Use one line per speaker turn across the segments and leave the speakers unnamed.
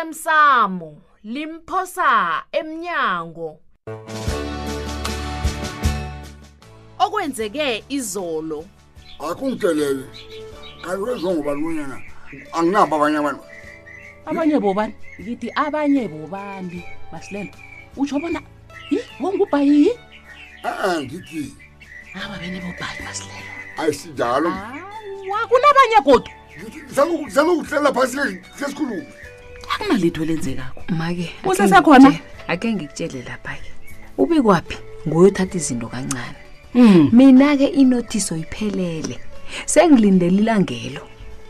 osemsamo limphosa emnyango okwenzeke izolo
akungidelele kanti kwenziwa ngobani bonyana anginabo abanye abantu
abanye bobani ngithi abanye bobani basilelo utsho bona yi wongubhayiyi
e-e Eh, ngithi
ababene bobhayi basilelo
ayisinjalo
awa kunabanye kodwa
sanokuhlela phasi lesikhulumo
akunalitho elenzekako
make
Kusesekhona?
ake ngikutshele lapha-ke ubikwaphi nguyothatha izinto kancane
Mm.
mina-ke inothiso iphelele sengilindelilangelo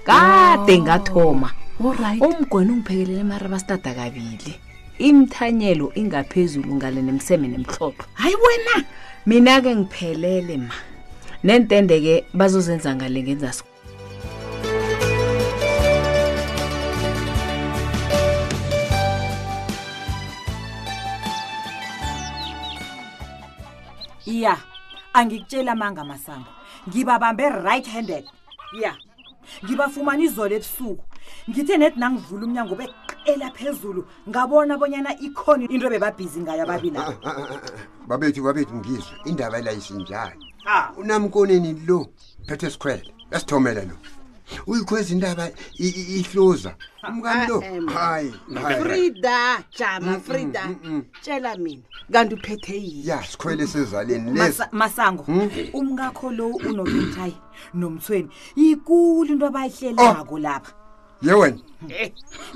kade ngathoma
olright
umgwena ungiphekelele mara basitada kabili imthanyelo ingaphezulu ngale nemseme nemhlopho
hayi wena
mina-ke ngiphelele ma nentende-ke bazozenza ngale ngenzas
ya angikutshela amanga masango ngibabambe right handed ya ngibafumana izolo ebusuku ngithe nedi nangivula umnyango beqela phezulu ngabona bonyana ikhona into ebebabhizi ngayo ababila
babethu babethu ngizwe indaba elayisinjani unamkoneni lo phethe sikhwele esithomele lo uyikhweza indaba i- i- ihluza umkani lo hayi hayi.
frida
Mm,
jama frida tshela mina kanti uphethe yini
ya sikhwele sezaleni lesi
masango umkakho lo unophetayi nomthweni yikulu into abayihlelako lapha
ye wena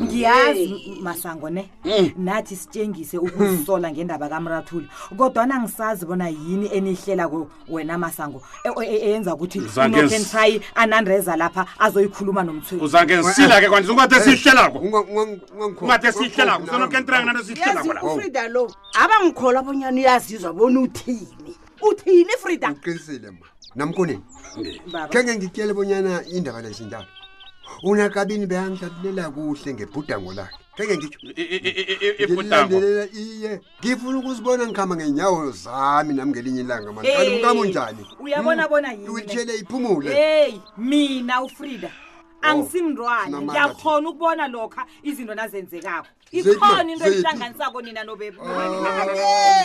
ngiyazi masango ne
Eh.
nathi sitshengise ukuzisola ngendaba kamrathuli kodwana ngisazi bona yini enihlela ku- wena masango e- e- e- eyenza ukuthi
Zange s-
unokentrayi anandreza lapha azoyikhuluma nomthweni
uzange ngisila-ke kwanti ungathe siyihlelako
Unga- unga- ungangikhombi.
ungathe siyihlelako
Ungangikhombi
sonokentranga nanto
yazi
siyihlelako la
ufrida lo abangikholwa abonyana uyazizwa bona uthini uthini frida
uqinisile ma namkoneni kenge ngitshele bonyana indaba layisinjalo unakabini beyangihlalulela kuhle ngebhudango lakhe kenge ngitsho
ibhutango
Ngilandelela iye ngifuna ukuzibona ngikhamba ngenyawo zami nami ngelinye ilanga mani kanti Hmm? umkami unjani
uyabona bona yini
uyitshele iphumule
heyi mina ufrida
Oh,
angisimntwana
sinamandla
ngiyakhona ukubona lokha izinto nazenzekako
Zethu,
ikhona into
zethu. Oh.
elihlanganisako nina nobeb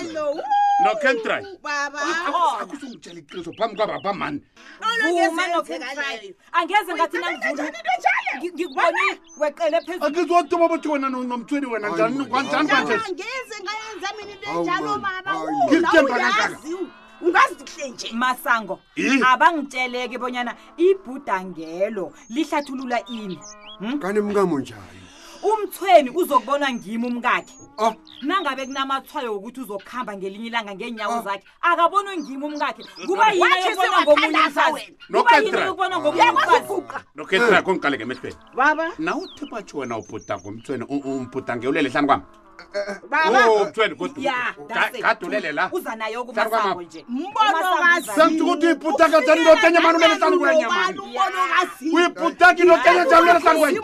elo
nokentry
baba
akuzungitshela iqiniso phambi kwababa mani
vuma nokentrayi angeze ngathi nangivula ngi- ngikubonile weqele phezulu
akiziwatuma bathi wena nomthweni wena njani kwanjani kwanje
angeze ngayenza mina into
Awu,
enjalo
man.
mama
Awu,
Ula,
ngizithemba kangaka.
uyazi ungazihle nje
masango
Eh.
abangitsheleke bonyana ibhudangelo lihlathulula ini
kanti umkami unjani
umthweni uzokubonwa ngimi umkakhe
Ah.
Oh.
nangabe kunamathwayo wokuthi uzokuhamba ngelinye ilanga
Oh.
ngeenyawo zakhe akabonwe ngimi umkakhe kuba yini
Wathi
ayokubonwa ngomunye
sewathandaza
umfazi
wena.
kuba yini
Nokedra.
ayokubonwa ngomunye umfazi
nokentry akho ngiqale ngemehlweni
baba
nawe uthe batsho wena ubhudango umthweni umbhudangewulele hlani kwami eh. Oh,
baba
umthweni
ya that's it.
godgadulele la
uza nayo
Hlala kwama-
kumasango nje
mbono
Umasango uza-
sengithi ukuthi uyibhutaka njani lotenya mani ulele hlani kwenya mani uyibhutaki lotenya njani ulele hlani kwenya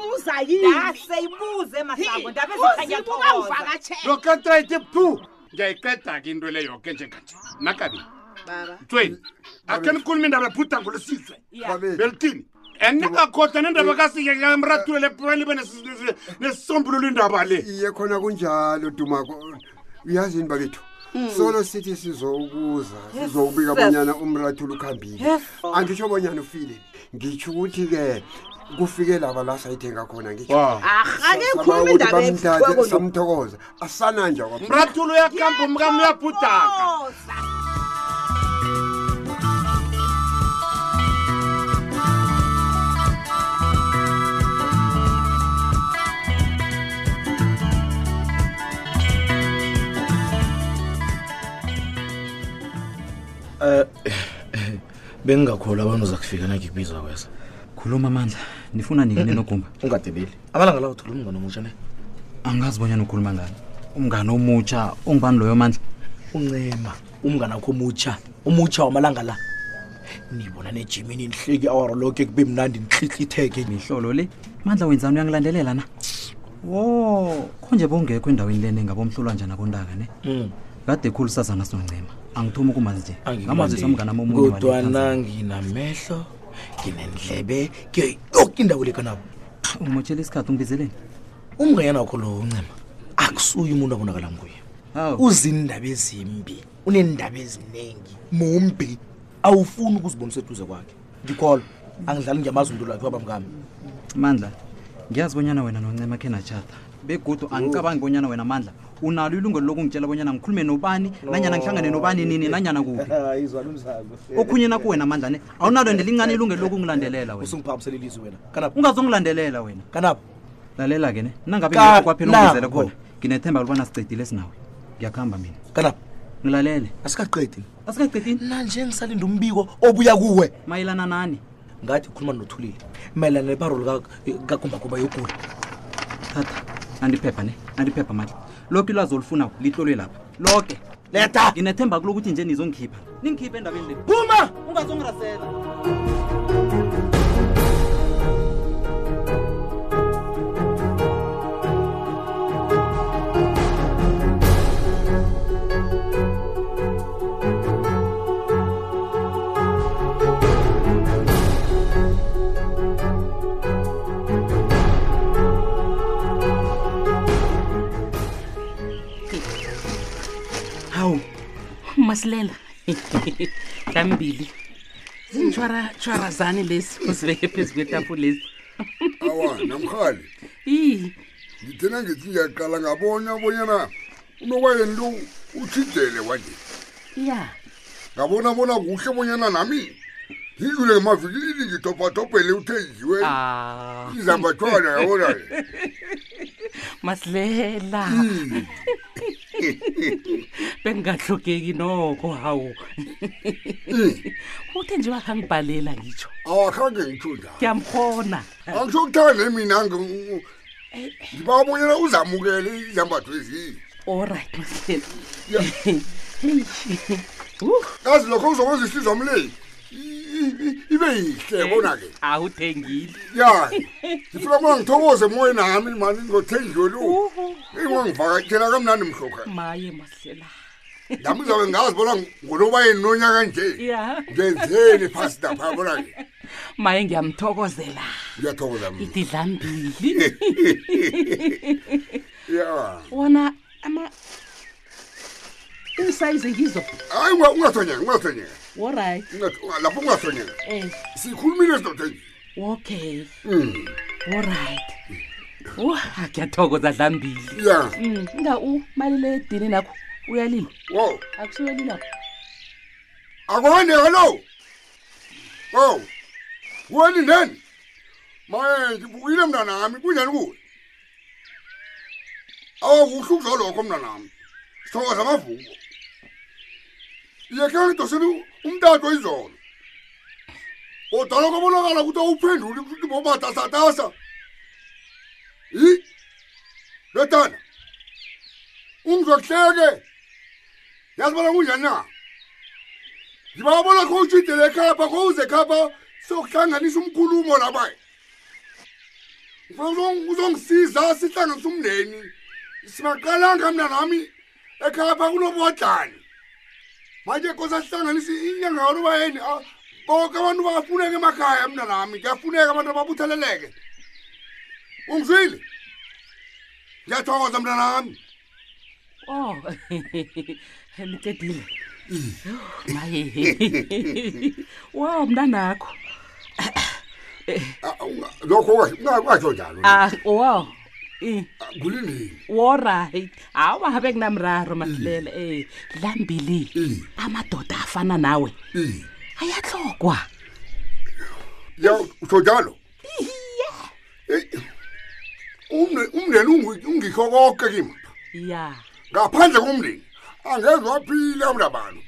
Dase, ibuze masango ndaba ezikhanya thokoza
nokentry ithi phu ngiyayiqeda-ke into le yoke njenganje nakabi mthweni akhe nikhuluma indaba ebhudango lesizwe
Ya.
babethu
beltini andingakhohlwa nendaba kasike kamratulele libe nesisombululo indaba le
iye khona kunjalo dumako uyazi yini babethu solo sithi sizowubuza sizowubika bonyana umrathula ukhambile angitsho bonyana ufile ngitsho ukuthi-ke kufike laba la sayithenga khona ngitsho
arhake khuluma
Sabawa ukuthi
indaba
bamthathe
ebuhlweko
samthokoza asananja kwa
mrathulo uyakamba mkami uyabhudaka
bengingakholwa abantu zakufika nangikubiza kweza
khuluma amandla nifuna nini nenogumba
ungadebeli amalanga lawo thola umngane omutsha ne
angazi bonyana ukhuluma ngani umngane omutsha ongubani loyo mandla
uncema umngane akho omutsha omutsha wamalanga la nibona nejimini nihleki awaro loke kube mnandi nihlihlitheke
mihlolo le mandla wenzani uyangilandelela na wo konje bowungekho endaweni lene ngabomhlolwanja nakontaka ne
Mm.
kade khulu sazana soncema angithumi ukumazi nje ngamazisa umngane ami omunye
kodwana nginamehlo nginendlebe ngiyo yoke indawo lekanabo
umotshela isikhathi ungibizeleni
umnganyana wakho lo uncema akusuye umuntu abonakala nguye uzindaba Oh. ezimbi uneendaba eziningi mumbi awufuni ukuzibonisa eduze kwakhe ndikholo angidlali ngiyamazi umntu lwakhe wabamngami
mandla ngiyazi bonyana wena noncema khe natshata begodu angicabangi bonyana wena mandla unalo ilungelo lokungitshela bonyana ngikhulume nobani nanyana ngihlangane nobani nini nanyana kuphi okhunye nakho wena mandla ne awunalo ndelincane ilungelo lokungilandelela wena
usungiphakamisela ilizwi wena kanapho
ungazongilandelela wena
kanapho
lalela-ke ne nangabe
Ka-
ngekho kwaphela ungizele
nakho.
khona nginethemba lokubana sicedile sinawe ngiyakuhamba mina
kanapho
ngilalele
asikaqedi
asikaqedini
nanje ngisalinde umbiko obuya kuwe
mayelana nani
ngathi ukhuluma nothulile mayelana nebaro kagumbagumba yogula
thatha andiphepha ne andiphepha mandla lokho ilwazi olufunako litlolwe lapha loke
leta
nginethemba kulokuthi nje nizongikhipha ningikhiphe endabeni le
phuma
ungazongirasela
hawu masilela kambili zintshwaratshwarazane lezi uzibeke phezu kwetafu lezi
awa namhali
i
ngithena ngithi ngiyaqala ngabona bonyana unobayeni lo utshijele wanje
ya
ngabona bona kuhle bonyana nami ngidlule ngemavikilini ngitopatopele uthenjiwe
Ah.
izambathwana yabona
masilela
Hmm,
bengingahlogeki noko hawu
hmm.
uthe nje wakhangibhalela ngitsho
awakhange ngitsho njalo
ngiyamhona
angisho kuthande mina ngi- ngiba bonyana uzamukele izambatho ezinye
allright masilela
kazi lokho kuzokwenza ihliziyo wami le i- i- ibe yihle yabona-ke
awuthengile
ya ngifuna bona ngithokoze emoyeni nami mani ngothenjiwe lo ingangivakatshela kamnandi mhlokha
maye masilela
nami zabe ngazi bona ngonobayeni nonyaka nje
ya
ngenzeni phasi lapha yabona-ke
maye ngiyamthokozela
ngiyathokoza mina
ididlambili
ya
wona ama isayizi ngizo
hayi unga- ungathonyeka ungathonyeka
allright
Unga- lapho ungathonyeka
eh
sikhulumile sidoda
okay
Mm.
allright uh ngiyathokoza dlambili
ya
Mm, nga umalile edini nakho uyalila
wo
akusukelila
akwandeka lo wo kuweni ndeni maye ngivukile mna nami kunjani kuwe awa kuhle ukudla lokho mna nami sithokoza amavuko yeke ngidosele umtato izolo odala kobonakala ukuthi awuphenduli ukuthi bobatasatasa yi lotana ungizokuhleke yazi bona kunjani na ngibabona kho utshidele ekhapha kho uze khapha sokuhlanganisa umkhulumo labaye Ngifuna uzong- uzongisiza sihlanganise umndeni singaqalanga mna nami ekhapha kunobodlani manje kosa sihlanganise inyanga kalubayeni ah, bonke abantu bafuneka emakhaya mna nami kuyafuneka abantu babutheleleke ungizwile ngiyathokoza mna nami
oh nicedile maye wow mntanakho
Ah, unga- lokho ungatsho njalo
ah wow Eh,
kulindini
allright hawa bekunamraro masilela eh dlambili amadoda afana nawe ayatlogwa
ya utsho njalo Eyi, umne- umndeni ungi- ungikho konke kimi
ya
ngaphandle komndeni angeze waphila mna bantu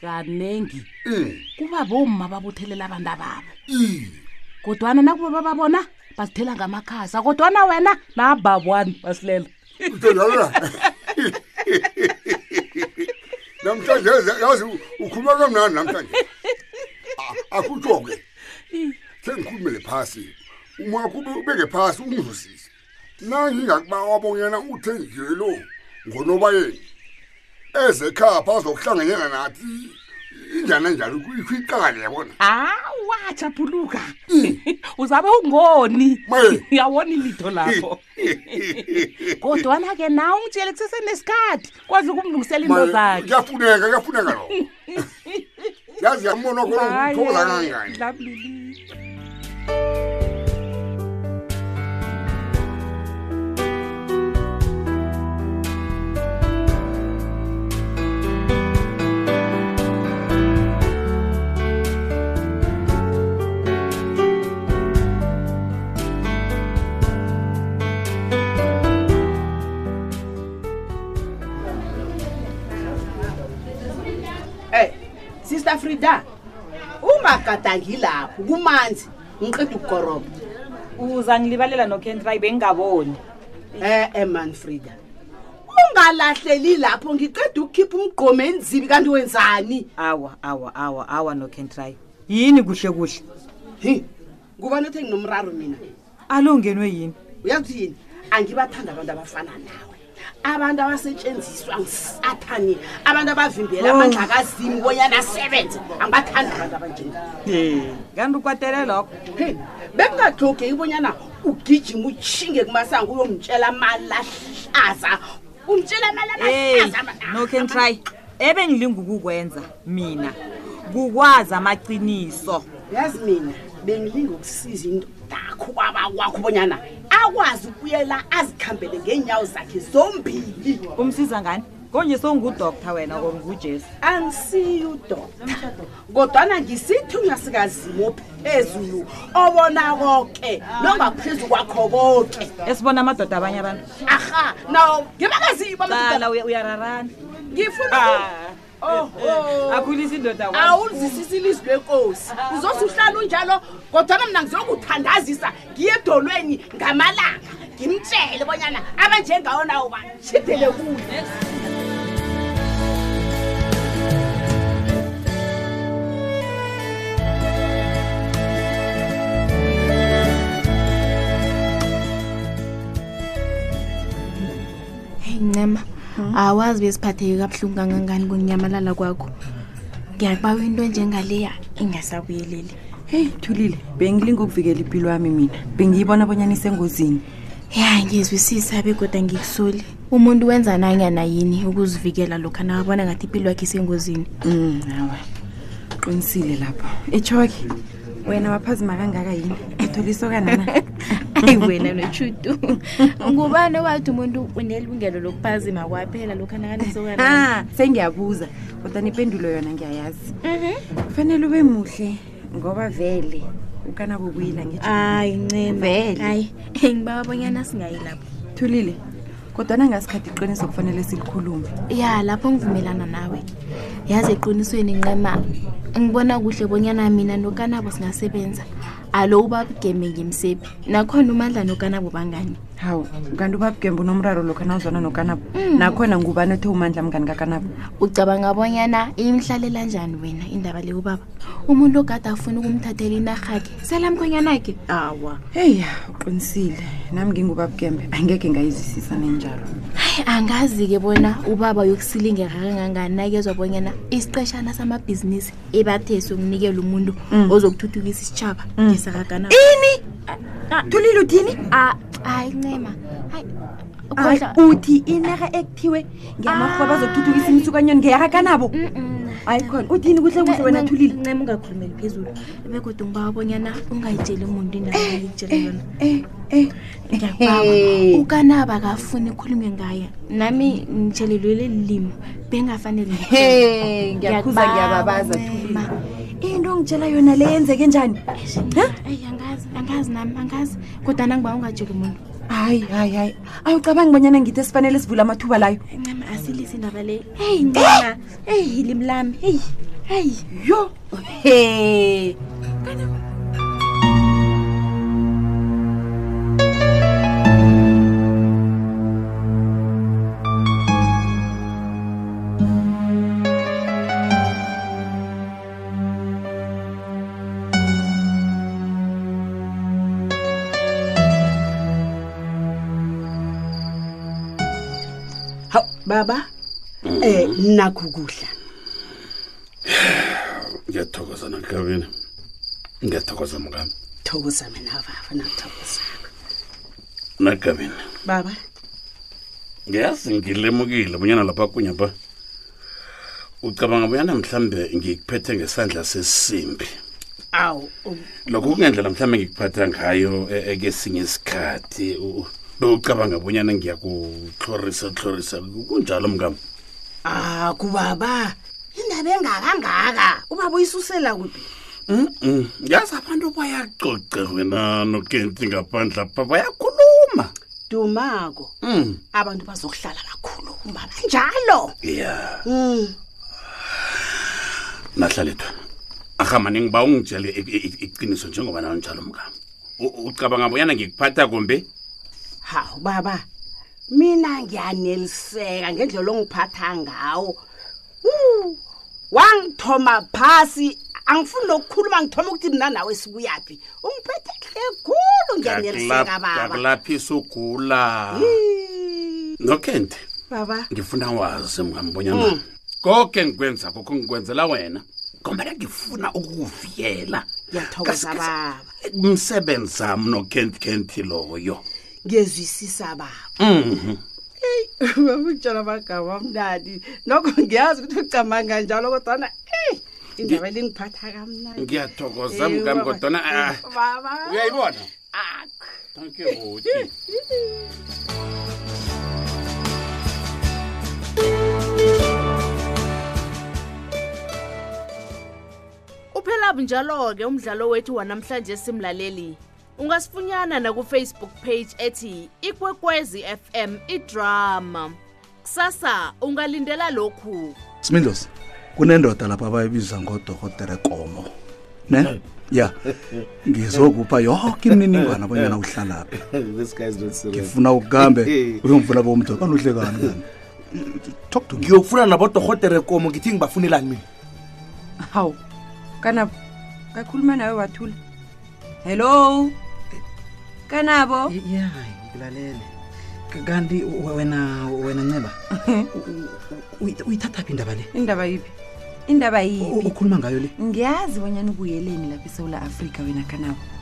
kanengi
Mm.
kuba bomma babuthelela abantu ababo kodwana nakuba bababona bazithela ngamakhasa kodwana wena nababwani basilela
Uthe njalo na? namhlanje yazi- yazi u- ukhuluma kamnani namhlanje A- akutsho-ke sengikhulumele phasi umakho ube- ubeke phasi ungizwisise nangingakubawa bonyana uthenjiwe lo ngonobayeni ezekhapha azokuhlanganyela nathi kunjani njalo kwiqale yabona
Ah, hawa japhuluka uzabe ungoni yawoni litho lapho kodwana ke nawe ungitshele kusesenesikhathi kwazi ukumlungisela into
Ma,
zakhe
kuyafuneka kuyafuneka lo yazi yambona
Hayi,
khona kangangani
Dlamini.
Eh, Sister Frida. Ungagadangi lapho kumanzi. Ngiqeda ukugoroba.
uzangilibalela nokentry bengingaboni
Eh eh man Frida. Ungalahleli lapho ngiqeda ukukhipha umgqomo enzibi kanti wenzani?
awa awa awa awa nokentry yini kuhle kuhle
hi Ngubani othe nginomraro mina?
alo ungenwe yini
Uyazi yini? Angibathanda abantu abafana nawe. Abantu abasetshenziswa ngisathani, abantu abavimbela
Oh.
amandla kazimu bonyana asebenze. Angibathanda abantu abanjengabo.
Eh, kanti ukwatele lokho
bekungatlogeki ibonyana ugijima utshinge kumasango uyongitshela amalahlaza ungitshela
Hey,
amalahlaza
Ah,
no can try. Ebengilinga ukukwenza mina. Kukwazi amaqiniso.
yazi mina bengilinga ukusiza indodakho kwaba kwakho bonyana akwazi ukuyela azikhambele ngeenyawo zakhe zombili
umsiza ngani konje sowungudoktar wena or ngujesu
angisiye udoktar kodwana ngisithunywa sikazimo phezulu obona koke nongaphezu kwakho koke
esibona amadoda abanye abantu
aha nawo ngibakazimo
cala uya- uyararana
ngifuna
Ah.
oho
akhulisa indoda kwami.
awulizisisa ilizwi lenkosi uzothi uhlala unjalo kodwana mna ngizokuthandazisa ngiye edolweni ngamalanga ngimtshele bonyana abanjengawo nawo bashidele kuyo
heyi ncema
Hmm?
awazi besiphatheke kabuhlungu kangangani kunyamalala kwakho ngiyakubawa into enjengaleya ingasabuyeleli
heyi thulile bengilinga ukuvikela impilo yami mina bengiyibona bonyana isengozini
ya ngiyezwisisa begoda ngikusoli umuntu wenza nanyana yini ukuzivikela lokhu nakabona ngathi impilo yakhe isengozini
um awa qinisile lapho itsho-ke wena waphazima kangaka yini etholisokana na
ayi wena notshutu ngubani owathi umuntu unelungelo lokuphazima kwaphela lokhu
Ah,
nakanisokana
sengiyabuza kodwa nipendulo yona ngiyayazi
Mhm.
kufanele ube muhle ngoba vele ukana kubuyela
hayi ncema
Vele.
hayi ngibaba bonyana singayi lapho
thulile kodwana ngasikhathi iqiniso kufanele silikhulume
ya lapho ngivumelana nawe yazi eqinisweni nqema ngibona kuhle bonyana mina nokanabo singasebenza alo ubabugeme ngimsebi nakhona umandla nokanabo bangani
hawu kanti ubabugemba unomraro lokho nawuzwana nokanabo nakhona ngubani othe umandla mngani kakanabo
ucabanga bonyana imhlalela njani wena indaba le ubaba umuntu ogade afuna ukumthathela inarhakhe selamkhonyanakhe awa
heyi uqinisile nami ngingubabugembe angekhe ngayizwisisa nenjalo
hayi angazi-ke bona ubaba yokusilingeka kangangani nakezwa bonyana isiqeshana samabhizinisi ebathesi ukunikela umuntu ozokuthuthukisa isitshaba ngesakakanabo
Mm. ini thulile uthini
hayi ncema
Hayi, uthi inarha ekuthiwe ngemarhwa bazokuthuthukisa imisukanyoni ngeyarakanabo hayi khona uthini kuhle kuhle wena thulile
ncema ungakhulumeli phezulu bekodwa ngibawa bonyana ungayitsheli umuntu
Eh,
indaba engikutshele yona ngiyakubawa
Eh.
ukanaba akafuni ikhulume ngaye nami ngitshelelwe leli limo bengafanele
Hey, Eh, ngiyakhuza ngiyababaza
thulima
into ongitshela yona le yenzeke njani
eyi angazi angazi nami angazi kodwa nangiba ungatsheli umuntu
hayi hayi hayi awucabangi bonyana ngithi esifanele sivule amathuba layo
ncema asilise indaba leyo
Eh,
heyi ncema eyi limi lami heyi heyi
yo he
hawu baba um nakho ukudla
ngiyathokoza naklawini ngiyathokoza mkami
thokoza mina baba nakuthokoza
naklawini
baba
ngiyazi ngilemukile bunyana lapha kunya pha ucabanga bonyana mhlambe ngikuphethe ngesandla sesimbi
awu um,
lokho kungendlela mhlambe ngikuphatha ngayo e- ekesinye isikhathi u- bewucabanga bonyana ngiyakutlorisa tlorisa kunjalo mkami
ah kubaba indaba engakangaka ubaba uyisusela kuphi
Mm, yazi abantu bayacoca wena nokenti ngaphandla pha bayakhulu
dumako
Mm,
abantu bazokuhlala bakhuluma banjalo
ya
um
nahlalethwa ahamane ngiba ungitshele i- i- i- iqiniso njengoba nawo njalo mkami U- ucabanga bonyana ngikuphatha kumbi
hawu baba mina ngiyaneliseka ngendlela ongiphatha ngawo Wu, wangithoma phasi angifuni nokukhuluma ngithoma ukuthi mna nawe sikuyaphi ungiphethe kuhle khulu ngiyaneliseka baba
ngakulaphisa ugula nokenti
baba
ngifuna wazi mkambonyana
Mm.
konke ngikwenza kokho ngikwenzela wena ngombana ngifuna ukukuvikela
ngiyathokoza baba
umsebenzi wami nokenti kenti loyo
ngiyezwisisa baba
Mhm.
babutshela amagama amnandi nokho ngiyazi ukuthi ucamanga njalo kodwana eyi indaba elingiphatha kamnandi
ngiyathokoza
Eh,
mkami
baba.
kodwana ah,
baba
uyayibona thank you buti
uphela bunjalo-ke umdlalo wethu wanamhlanje simlaleli ungasifunyana nakufacebook page ethi ikwekwezi fm idrama kusasa ungalindela lokhu
smindlosi kunendoda lapha abayibiza ngodokotere komo ne ya ngizokupha yoke imininingwana bonyana uhlalaphi
this guy is not serious.
ngifuna ukukambe uyongivula bomdo kanuhle kani kani talk to me
ngiyokufuna nabodorhoterekomo ngithi ngibafunelani mina
hawu kanabo ngakhuluma nawe wathula hello kanabo
ya
lalela kanti wena wena nceba
uyithathaphi indaba le indaba yiphi indaba yipi ukhuluma ngayo le ngiyazi bonyana ubuyeleni lapha esewula afrika wena kanabo